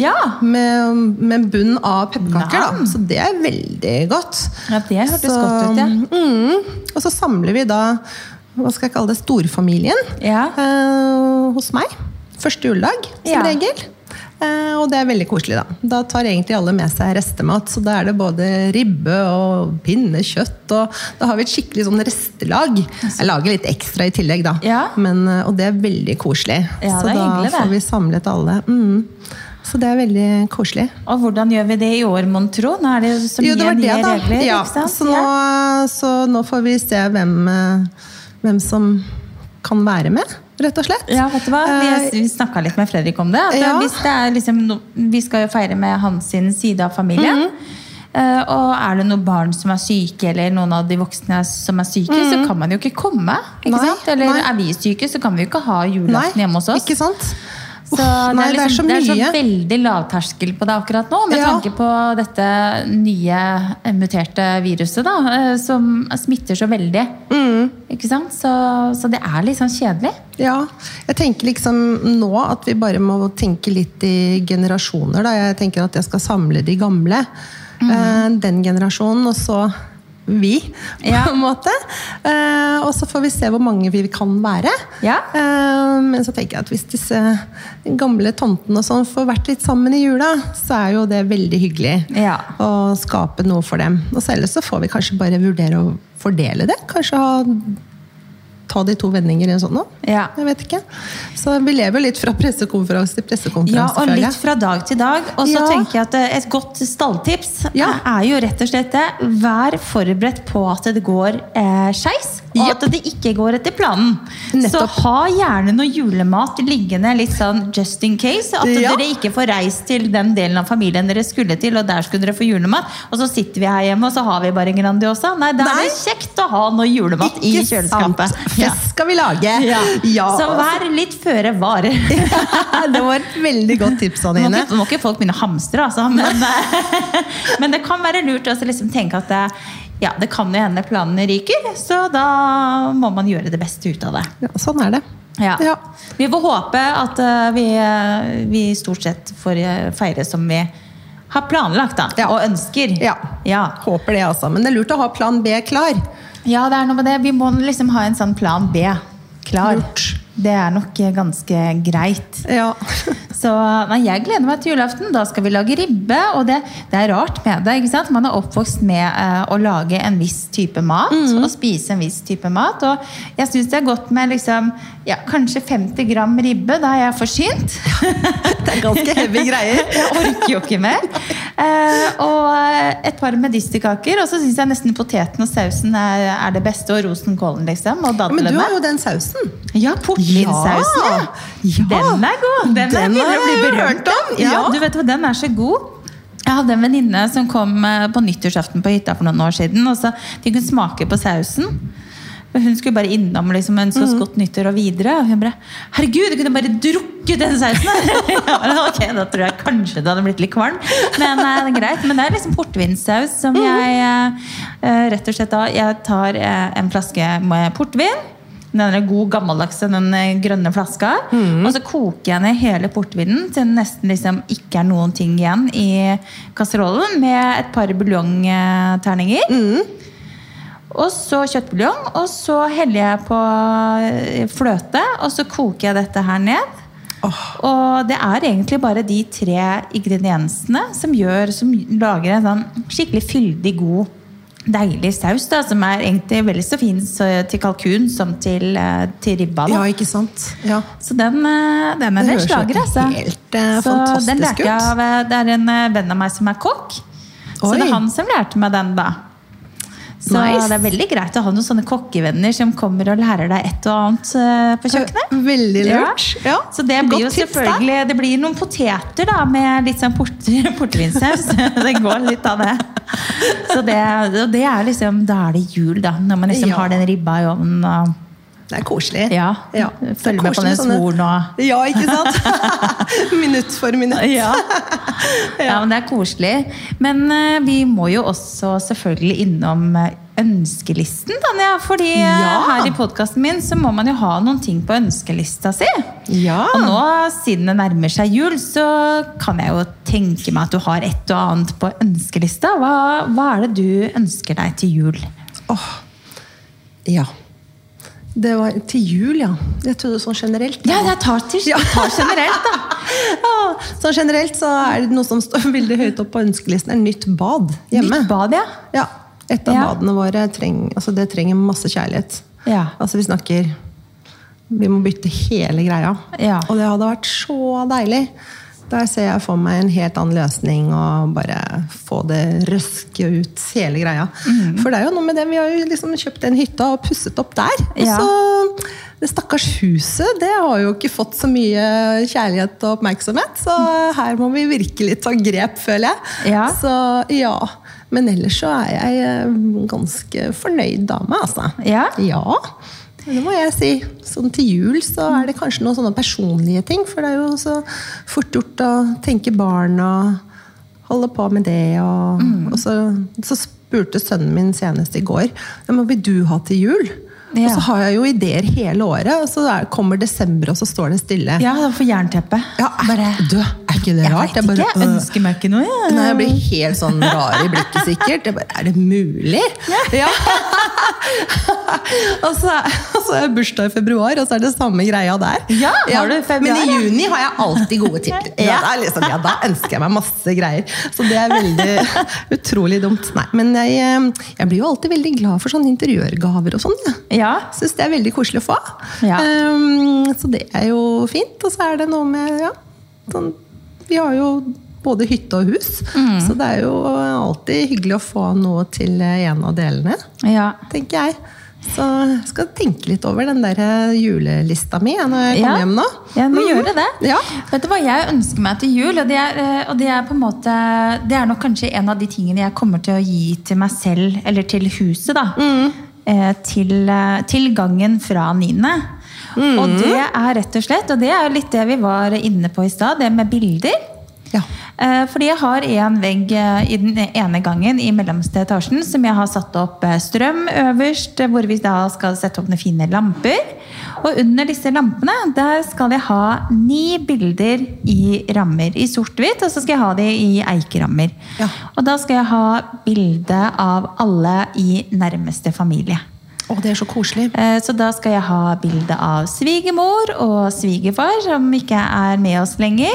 Ja, Med, med bunn av pepperkaker, da. Nam. Så det er veldig godt. ja det hørtes Så, godt ut, ja. mm, og så samler vi da hva skal jeg kalle det, storfamilien Ja. eh, hos meg. Første juledag, som Ja. regel. Eh, og det er veldig koselig, da. Da tar egentlig alle med seg restemat. Så da er det både ribbe og pinnekjøtt, og da har vi et skikkelig sånn restelag. Jeg lager litt ekstra i tillegg, da. Ja. Men, eh, og det er veldig koselig. Ja, så det er da hyggelig, det. får vi samlet alle. Mm. Så det er veldig koselig. Og hvordan gjør vi det i år, mon tro? Nå er det jo så mye Jo, det var det, nye da. regler. ja. ikke sant? så, nå, Ja. så nå får vi se hvem, eh, hvem som kan være med, rett og slett. Ja, vet du hva? Eh, Vi, vi snakka litt med Fredrik om det. At Ja. hvis det er liksom, no- vi skal jo feire med hans sin side av familien. Mhm. Eh, og er det noen barn som er syke, eller noen av de voksne som er syke, så kan man jo ikke komme. Ikke Mhm. Nei, sant? Eller nei. er vi syke, så kan vi jo ikke ha Nei, julaften hjemme hos oss. ikke sant? Så Uff, nei, det er så det er så mye. veldig lavterskel på det akkurat nå, med Ja. tanke på dette nye eh, muterte viruset, da, eh, som smitter så veldig. Mhm. Ikke sant? Så, så det er litt sånn kjedelig. Ja, jeg tenker liksom nå at vi bare må tenke litt i generasjoner. Da. Jeg tenker at jeg skal samle de gamle. Mm. eh, Den generasjonen, og så vi, på Ja. en måte. Eh, Og så får vi se hvor mange vi kan være. Ja. Eh, Men så tenker jeg at hvis disse gamle tomtene og sånn får vært litt sammen i jula, så er jo det veldig hyggelig. Ja. Å skape noe for dem. Og så ellers så får vi kanskje bare vurdere å fordele det. Kanskje ha ta de to vendinger i en sånn nå. Ja. Jeg vet ikke. Så vi lever jo litt fra pressekonferanse til Ja, pressekonferanse. og føler litt jeg. fra dag til dag. Og så Ja. tenker jeg at eh, et godt stalltips eh, Ja. er jo rett og slett det. Vær forberedt på at det går eh, skeis, og Jepp. at det ikke går etter planen. Så Nettopp. ha gjerne noe julemat liggende litt sånn just in case. At Ja. dere ikke får reist til den delen av familien dere skulle til, og der skulle dere få julemat. Og så sitter vi her hjemme, og så har vi bare Grandiosa. Nei, da Nei. er det kjekt å ha noe julemat i Ikke sant. kjøleskapet. Ja. Fest skal vi lage! Ja. Ja. Så vær litt føre var. det var et veldig godt tips, Nå må, Anine. ikke, nå må ikke folk begynne å hamstre, altså, men, eh, men det kan være lurt å også liksom tenke at det, ja, det kan jo hende planene ryker, så da må man gjøre det beste ut av det. Ja, sånn er det. Ja. Ja. Vi får håpe at eh, vi, eh, vi stort sett får eh, feire som vi har planlagt da, Ja. og ønsker. Ja. Ja. Håper det, altså. Men det er lurt å ha plan B klar. Ja, det er noe med det. Vi må liksom ha en sånn plan B klar. Lurt. Det er nok eh, ganske greit. Ja. Så nei, jeg gleder meg til julaften. Da skal vi lage ribbe. Og det, det er rart med det. ikke sant? Man er oppvokst med eh, å lage en viss type mat. Mhm. Og spise en viss type mat. Og jeg syns det er godt med liksom, ja, kanskje 50 gram ribbe. Da er jeg forsynt. Det er ganske heavy greier. Jeg orker jo ikke mer. Eh, og eh, et par medisterkaker. Og så syns jeg nesten poteten og sausen er, er det beste. Og rosenkålen, liksom. Og Men du dadlene. har jo den sausen. Ja, portvinsausen. Ja. Ja. Den er god. Den, Den er har begynner å bli jeg berømt hørt om. om, Ja, ja. du vet hva, den er så god. Jeg hadde en venninne som kom eh, på nyttårsaften på hytta for noen år siden, og så fikk hun smake på sausen. Men Hun skulle bare innom liksom, ønske oss godt nyttår og videre. Og hun bare 'Herregud, du kunne bare drukket den sausen!' her!» ja, men ok, Da tror jeg kanskje det hadde blitt litt kvalm. Men eh, det er greit. Men det er liksom portvinsaus som jeg eh, eh, rett og slett da Jeg tar eh, en flaske med portvin. Den er god gammeldagse, den eh, grønne flaska. Og så koker jeg ned hele portvinen til det nesten liksom ikke er noen ting igjen i kasserollen. Med et par buljongterninger. Og så kjøttbuljong. Og så heller jeg på eh, fløte, og så koker jeg dette her ned. Åh. Og det er egentlig bare de tre ingrediensene som, gjør, som lager en sånn skikkelig fyldig, god, deilig saus. Da, som er egentlig veldig så fin så, til kalkun som til, eh, til ribba. Da. Ja, ikke sant? Ja. Så den, eh, den er Det en høres jo slager, altså. helt, eh, så fantastisk den lærte ut. jeg av eh, Det er en eh, venn av meg som er kokk. Så Oi. det er han som lærte meg den, da. Så Nice. det er veldig greit å ha noen sånne kokkevenner som kommer og lærer deg et og annet eh, på kjøkkenet. Veldig lurt. Ja. Så det blir Godt jo tips der. selvfølgelig Det blir noen poteter da med litt sånn port, portvinsaus. det går litt av det. Så det, og det er liksom Da er det jul, da. Når man liksom Ja. har den ribba i ovnen. Og, Det er koselig. Ja. Følg med på den svoren og Ja, ikke sant? minutt for minutt. ja. ja, men det er koselig. Men eh, vi må jo også selvfølgelig innom eh, ønskelisten, Tanja. Fordi eh, Ja. her i podkasten min så må man jo ha noen ting på ønskelista si. Ja. Og nå, siden det nærmer seg jul, så kan jeg jo tenke meg at du har et og annet på ønskelista. Hva, hva er det du ønsker deg til jul? Åh. Ja. Det var til jul, ja. Jeg trodde sånn generelt. Ja, jeg tar, til, jeg tar generelt, da. Ja, så generelt så er det noe som står veldig høyt opp på ønskelisten, er nytt bad hjemme. Nytt bad, ja. Ja, Et av Ja. badene våre treng, altså det trenger masse kjærlighet. Ja. Altså Vi snakker Vi må bytte hele greia. Ja. Og det hadde vært så deilig. Der ser jeg for meg en helt annen løsning og bare få det røske ut, hele greia. Mhm. For det er jo noe med det, vi har jo liksom kjøpt den hytta og pusset opp der. Og Ja. så det stakkars huset, det har jo ikke fått så mye kjærlighet og oppmerksomhet. Så her må vi virkelig ta grep, føler jeg. Ja. Så ja. Men ellers så er jeg eh, ganske fornøyd dame, altså. Ja? Ja, det må jeg si. Sånn til jul så er det kanskje noen sånne personlige ting, for det er jo så fort gjort å tenke barn og holde på med det. Og, Mm. og så, så spurte sønnen min senest i går «Ja, men hva vil du ha til jul. Ja. Og så har jeg jo ideer hele året, og så er, kommer desember, og så står det stille. Ja, da får jernteppe. Ja, er, Bare- du, er ikke det Jeg vet rart? ikke, bare, øh. jeg ønsker meg ikke noe. jeg. Nei, jeg blir helt sånn rar i blikket sikkert. Jeg bare, er det mulig? Ja. og så og så har jeg bursdag i februar, og så er det samme greia der. Ja, har du februar, Men i ja? juni har jeg alltid gode titler. Ja. Ja. det er liksom, ja, da ønsker jeg meg masse greier. Så det er veldig utrolig dumt. Nei, men jeg, eh, jeg blir jo alltid veldig glad for sånne interiørgaver og sånn. Ja. Ja. Syns det er veldig koselig å få. Ja. Ehm, så det er jo fint. Og så er det noe med ja, sånn, Vi har jo både hytte og hus, Mm. så det er jo alltid hyggelig å få noe til en av delene, ja. tenker jeg. Så jeg skal tenke litt over den der julelista mi ja, når jeg kommer hjem nå. Jeg må Mhm. gjøre det. Ja. Vet du hva jeg ønsker meg til jul? Og det er, eh, og det er på en måte Det er nok kanskje en av de tingene jeg kommer til å gi til meg selv, eller til huset, da. Mm. Eh, Til, eh, til gangen fra niende. Mm. Og det er rett og slett, og det er jo litt det vi var inne på i stad, det med bilder. Ja. Eh, Fordi jeg har en vegg eh, i den ene gangen i mellomste etasjen som jeg har satt opp eh, strøm øverst, eh, hvor vi da skal sette opp noen fine lamper. Og under disse lampene der skal jeg ha ni bilder i rammer i sort-hvitt, og så skal jeg ha de i eikerammer. Ja. Og da skal jeg ha bilde av alle i nærmeste familie. Å, det er så koselig. Eh, Så da skal jeg ha bilde av svigermor og svigerfar, som ikke er med oss lenger.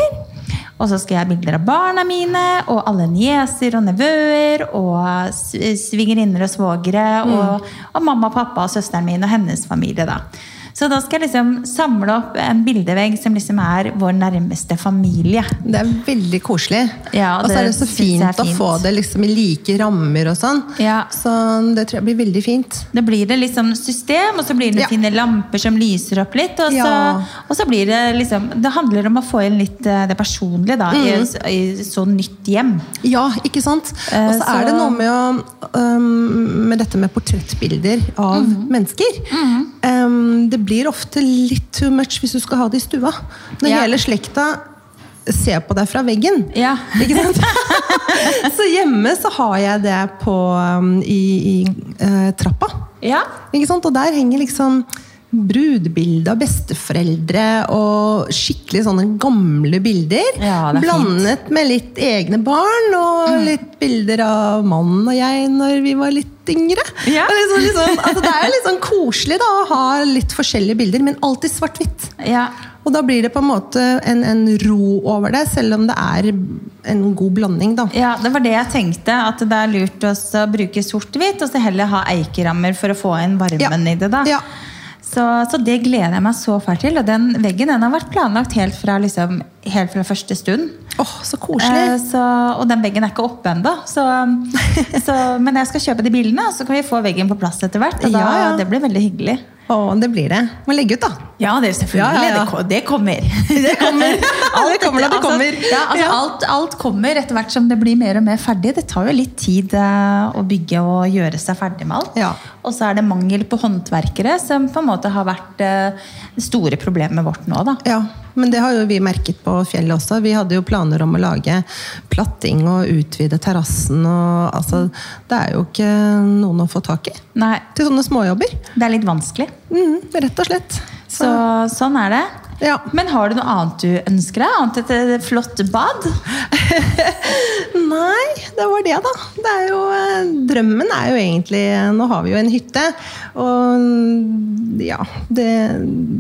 Og så skal jeg ha bilder av barna mine og alle nieser og nevøer og s- svigerinner og svogere og, og mamma og pappa og søsteren min og hennes familie. da. Så da skal jeg liksom samle opp en bildevegg som liksom er vår nærmeste familie. Det er veldig koselig. Ja, og så er det det så synes jeg er fint, å fint. få det liksom i like rammer og sånn. Ja. Så det tror jeg blir veldig fint. Det blir det liksom system, og så blir det Ja. fine lamper som lyser opp litt. Og så, Ja. og så blir det liksom Det handler om å få inn litt eh, det personlige da, Mm. i, et- i så nytt hjem. Ja, ikke sant? Eh, Og så er det så- noe med, å, øhm, med dette med portrettbilder av Mhm. mennesker. Øhm, det blir ofte litt too much hvis du skal ha det i stua. Når Ja. hele slekta ser på deg fra veggen. Ja. Ikke sant? så hjemme så har jeg det på, øhm, i, i eh, trappa. Ja. Ikke sant? Og der henger liksom brudebilde av besteforeldre og skikkelig sånne gamle bilder. Ja, det er Mm. blandet med litt egne barn og litt bilder av mannen og jeg når vi var litt yngre. Ja. Det er Liksom, liksom, altså det er litt sånn koselig da, å ha litt forskjellige bilder, men alltid svart-hvitt. ja. Og da blir det på en måte en, en ro over det, selv om det er en god blanding. da. Ja, det var det jeg tenkte. At det er lurt også å bruke sort-hvitt, og så heller ha eikerammer for å få inn varmen Ja. i det. da. Ja. Så, så det gleder jeg meg så fælt til. Og den veggen den har vært planlagt helt fra, liksom, helt fra første stund. Åh, så koselig! Eh, Så, og den veggen er ikke oppe ennå. Så, så, men jeg skal kjøpe de bildene, og så kan vi få veggen på plass etter hvert. Og da, Ja, ja. Det blir veldig hyggelig. Og det blir det. Må legge ut, da. Ja, det er selvfølgelig. Ja, ja, ja. Det ko- Det kommer. Det kommer. Ja, det kommer når det kommer. Altså, ja, altså, Ja. Alt, alt kommer etter hvert som det blir mer og mer ferdig. Det tar jo litt tid eh, å bygge og gjøre seg ferdig med alt. Ja. Og så er det mangel på håndverkere, som på en måte har vært eh, det store problemet vårt nå. da. Ja, men det har jo vi merket på fjellet også. Vi hadde jo planer om å lage platting og utvide terrassen og altså Det er jo ikke noen å få tak i Nei, til sånne småjobber. det er litt vanskelig. Mm, rett og slett. Så sånn er det. Ja. Men har du noe annet du ønsker deg? Annet enn et flott bad? Nei, det var det, da. Det er jo, eh, drømmen er jo egentlig eh, Nå har vi jo en hytte, og mm, ja Det,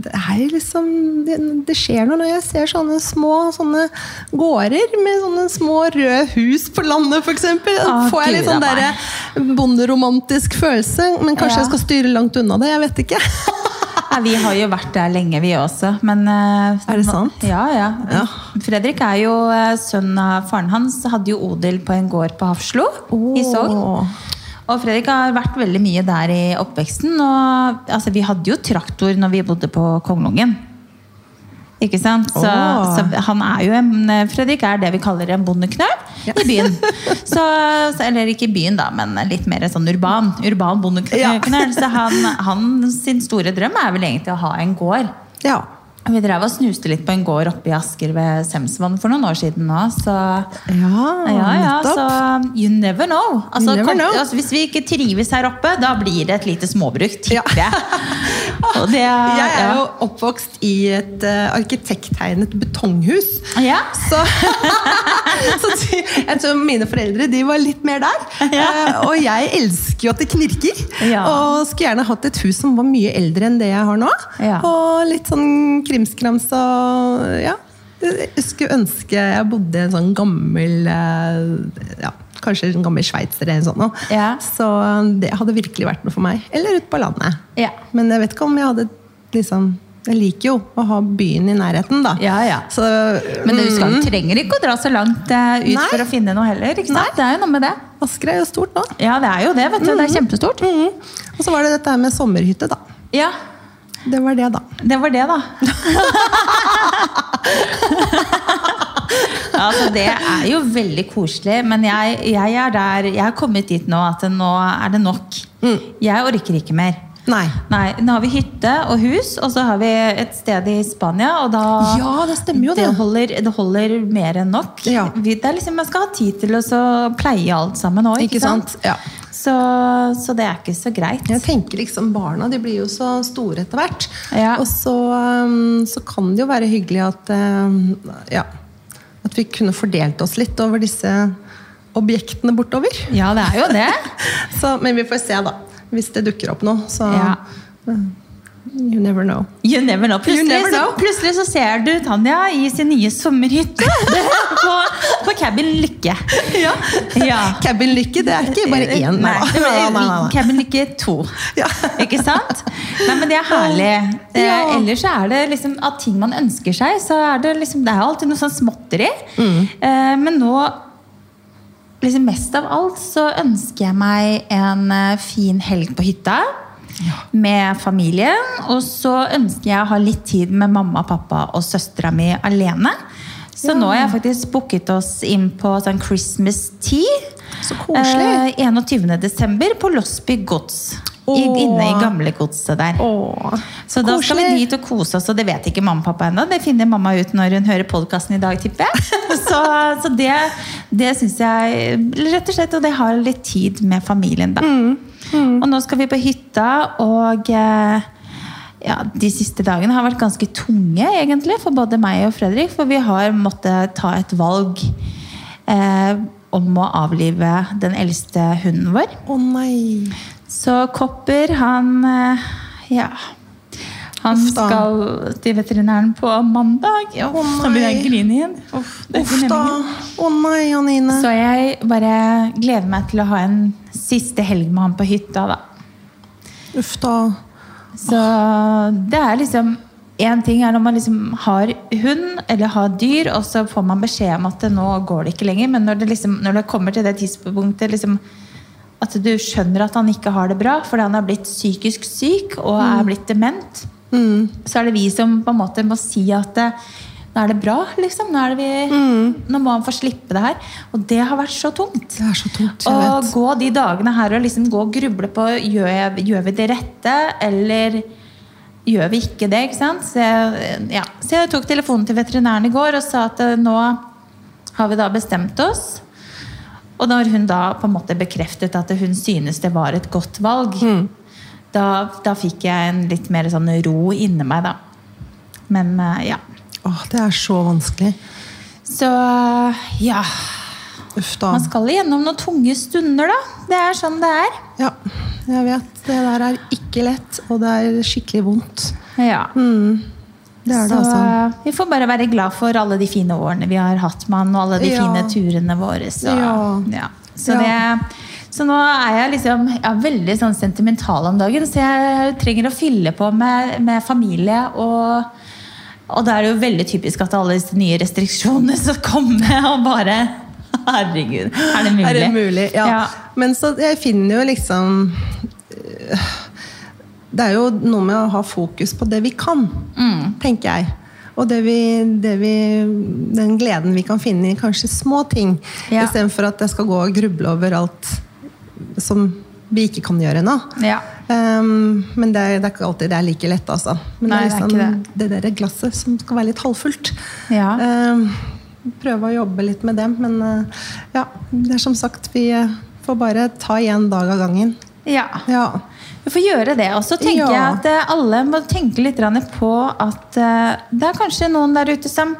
det er liksom det, det skjer noe når jeg ser sånne små sånne gårder med sånne små røde hus på landet, f.eks. Da Å, får jeg litt Gud, sånn da, derre bonderomantisk følelse. Men kanskje Ja. jeg skal styre langt unna det? Jeg vet ikke. Ja, vi har jo vært der lenge, vi også. Men, eh, Er det sant? Ja, ja. Ja. Fredrik er jo eh, sønn av faren hans. Hadde jo odel på en gård på Hafslo i Sogn. Åh. Og Fredrik har vært veldig mye der i oppveksten. Og altså, vi hadde jo traktor når vi bodde på Konglungen. Ikke sant? Så, Åh. så han er jo en, eh, Fredrik er det vi kaller en bondeknøl i byen. Så, så, eller ikke i byen, da, men litt mer sånn urban. Urban bondeknøl. Ja. Så han, han sin store drøm er vel egentlig å ha en gård. Ja. Vi drev og snuste litt på en gård oppe i Asker ved Semsvann for noen år siden nå. Så Ja, ja, ja, Ah, nettopp. så you never know. Altså, You never kom, know. Altså, hvis vi ikke trives her oppe, da blir det et lite småbruk, Ja. tipper jeg. Og det, Jeg er ja. jo oppvokst i et eh, arkitekttegnet betonghus. Ja. Så, så de, jeg tror mine foreldre de var litt mer der. Eh, og jeg elsker jo at det knirker. Ja. Og skulle gjerne hatt et hus som var mye eldre enn det jeg har nå. Ja. Og litt sånn krimskrams og ja. Jeg skulle ønske jeg bodde i en sånn gammel eh, ja, Kanskje en gammel sveitser eller sånn noe. Ja. Så det hadde virkelig vært noe for meg. Eller ute på landet. Ja. Men jeg vet ikke om jeg hadde liksom Jeg liker jo å ha byen i nærheten, da. Ja, ja. Så, Men du skal, mm, trenger ikke å dra så langt eh, ut Nei. for å finne noe heller. ikke sant? Det er jo noe med det. Mm. Asker er jo stort nå. Ja, det er jo det. vet du. Det er kjempestort. Mhm. Og så var det dette her med sommerhytte, da. Ja, Det var det, da. det var det, da. altså, det er jo veldig koselig, men jeg, jeg er der Jeg har kommet dit nå at nå er det nok. Jeg orker ikke mer. Nei. Nei, nå har vi hytte og hus, og så har vi et sted i Spania, og da Ja, det stemmer jo det. holder, det holder mer enn nok. Ja. Vi, det er liksom, man skal ha tid til å så pleie alt sammen òg, ikke, Ikke sant? sant? Ja. Så, så det er ikke så greit. Jeg tenker liksom Barna de blir jo så store etter hvert. Ja. Og så, um, så kan det jo være hyggelig at um, ja, at vi kunne fordelt oss litt over disse objektene bortover. Ja, det er jo det. Så, men vi får se, da. Hvis det dukker opp noe. Så uh, Ja. you never know. You never know. Plutselig, never know. Så, plutselig så ser du Tanja i sin nye sommerhytte på, på Cabin Lykke. Ja. Ja. Cabin Lykke, det er ikke bare én. Nei, da. det blir Nei, nei, nei, nei. Cabin Lykke to. Ja. Ikke sant? Nei, men det er herlig. Det, Ja. Ellers så er det liksom av ting man ønsker seg, så er det liksom Det er jo alltid noe sånn småtteri. Mm. Eh, men nå liksom mest av alt så ønsker jeg meg en eh, fin helg på hytta. Med familien. Og så ønsker jeg å ha litt tid med mamma, pappa og søstera mi alene. Så nå har jeg faktisk booket oss inn på sånn Christmas tea. Så koselig. Eh, 21. desember på Losby gods. I, Åh. inne i gamlegodset der. Åh, Så da skal vi koselig. dit og kose oss, og det vet ikke mamma og pappa ennå. Det finner mamma ut når hun hører podkasten i dag, tipper jeg. Så, så det, det syns jeg rett og slett, og det har litt tid med familien, da. Mm, Og nå skal vi på hytta, og eh, ja, de siste dagene har vært ganske tunge, egentlig, for både meg og Fredrik, for vi har måttet ta et valg. Eh, om å avlive den eldste hunden vår. Å nei. Så Kopper, han eh, Ja. Han Uff da. skal til veterinæren på mandag. Ja, Å så begynner jeg å nei. grine igjen. Uff, det er Uff ikke da. meningen. Å nei, Anine. Så jeg bare gleder meg til å ha en siste helg med han på hytta, da. Uff da. Så det er liksom Én ting er når man liksom har hund eller har dyr, og så får man beskjed om at det, nå går det ikke lenger. Men når det, liksom, når det kommer til det tidspunktet liksom, at du skjønner at han ikke har det bra fordi han har blitt psykisk syk og er blitt dement, så er det vi som på en måte må si at eh, nå er det bra, liksom. Nå, er det vi, nå må han få slippe det her. Og det har vært så tungt. Det er så tungt, jeg Å vet. gå de dagene her og liksom gå og gruble på gjør, jeg, gjør vi det rette, eller gjør vi ikke det? ikke sant? Så jeg, ja. så jeg tok telefonen til veterinæren i går og sa at eh, nå har vi da bestemt oss. Og når hun da på en måte bekreftet at hun synes det var et godt valg, Mm. da, da fikk jeg en litt mer sånn ro inni meg, da. Men eh, ja. Åh, det er så vanskelig. Så ja. Uff da. Man skal igjennom noen tunge stunder, da. Det er sånn det er. Ja, jeg vet. Det der er ikke lett, og det er skikkelig vondt. Ja. Det er det, så altså. eh, vi får bare være glad for alle de fine årene vi har hatt med han, og alle de Ja. fine turene våre. Så, Ja. ja. så, Ja. Det, så nå er jeg liksom jeg er veldig sånn sentimental om dagen, så jeg trenger å fylle på med, med familie. Og, og da er det jo veldig typisk at alle disse nye restriksjonene som kommer, og bare Herregud, er det mulig? Er det mulig? Ja. Ja. Men så jeg finner jo liksom øh, Det er jo noe med å ha fokus på det vi kan, tenker jeg. Og det vi, det vi, den gleden vi kan finne i kanskje små ting. Ja. Istedenfor at jeg skal gå og gruble over alt som vi ikke kan gjøre nå. Ja. Ehm, men det er, det er ikke alltid det er like lett, altså. Men Nei, det det er er liksom ikke det, der glasset som skal være litt halvfullt. Ja. Ehm, prøve å jobbe litt med dem, men eh, ja, det er som sagt, vi eh, får bare ta én dag av gangen. ja. Ja. Vi får gjøre det. Og så tenker Ja. jeg at eh, alle må tenke litt grann på at eh, det er kanskje noen der ute som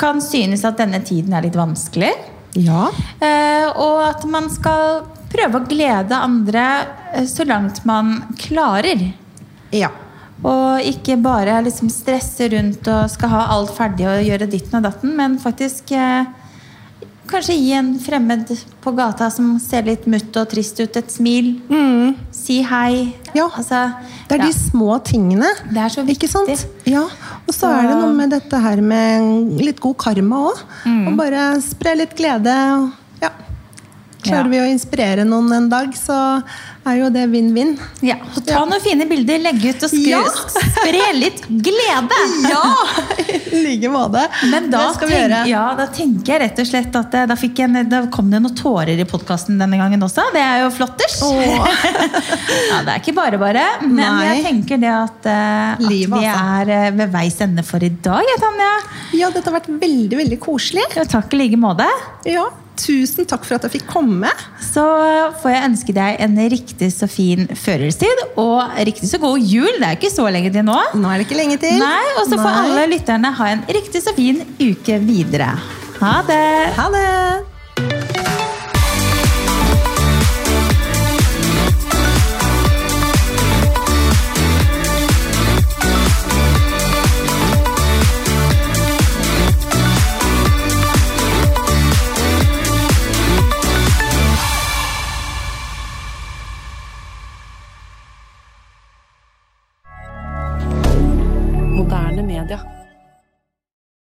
kan synes at denne tiden er litt vanskelig. Ja. Eh, Og at man skal prøve å glede andre eh, så langt man klarer. ja. Og ikke bare liksom stresse rundt og skal ha alt ferdig og gjøre ditten og datten, men faktisk eh, kanskje gi en fremmed på gata som ser litt mutt og trist ut, et smil. Si hei. Mm. Ja. Altså, Det er ja. de små tingene. Det er så Ikke sant? viktig. Ja. Og så Så- er det noe med dette her med litt god karma òg. Mm. Og bare spre litt glede. og Ja. Klarer Ja. vi å inspirere noen en dag, så er jo det vinn-vinn. Ja, og ta noen fine bilder, legge ut og skru, Ja. spre litt glede! I like måte. Men da, det skal vi tenk- gjøre. ja, da tenker jeg rett og slett at eh, da, fikk jeg, en- da kom det noen tårer i podkasten denne gangen også. Det er jo flotters! ja, det er ikke bare bare. Men Nei. jeg tenker det at, eh, at Livet, vi altså. er eh, ved veis ende for i dag, jeg, Tanja. Ja, dette har vært veldig, veldig koselig. Og takk i like måte. Ja, tusen takk for at jeg fikk komme. Så eh, får jeg ønske deg en riktig så fin førerstid, og riktig så god jul. Det er jo ikke så lenge til nå. Nå er det ikke lenge til. Nei, og så får Nei. alle lytterne ha en riktig så fin uke videre. Ha det! Ha det! Moderne media.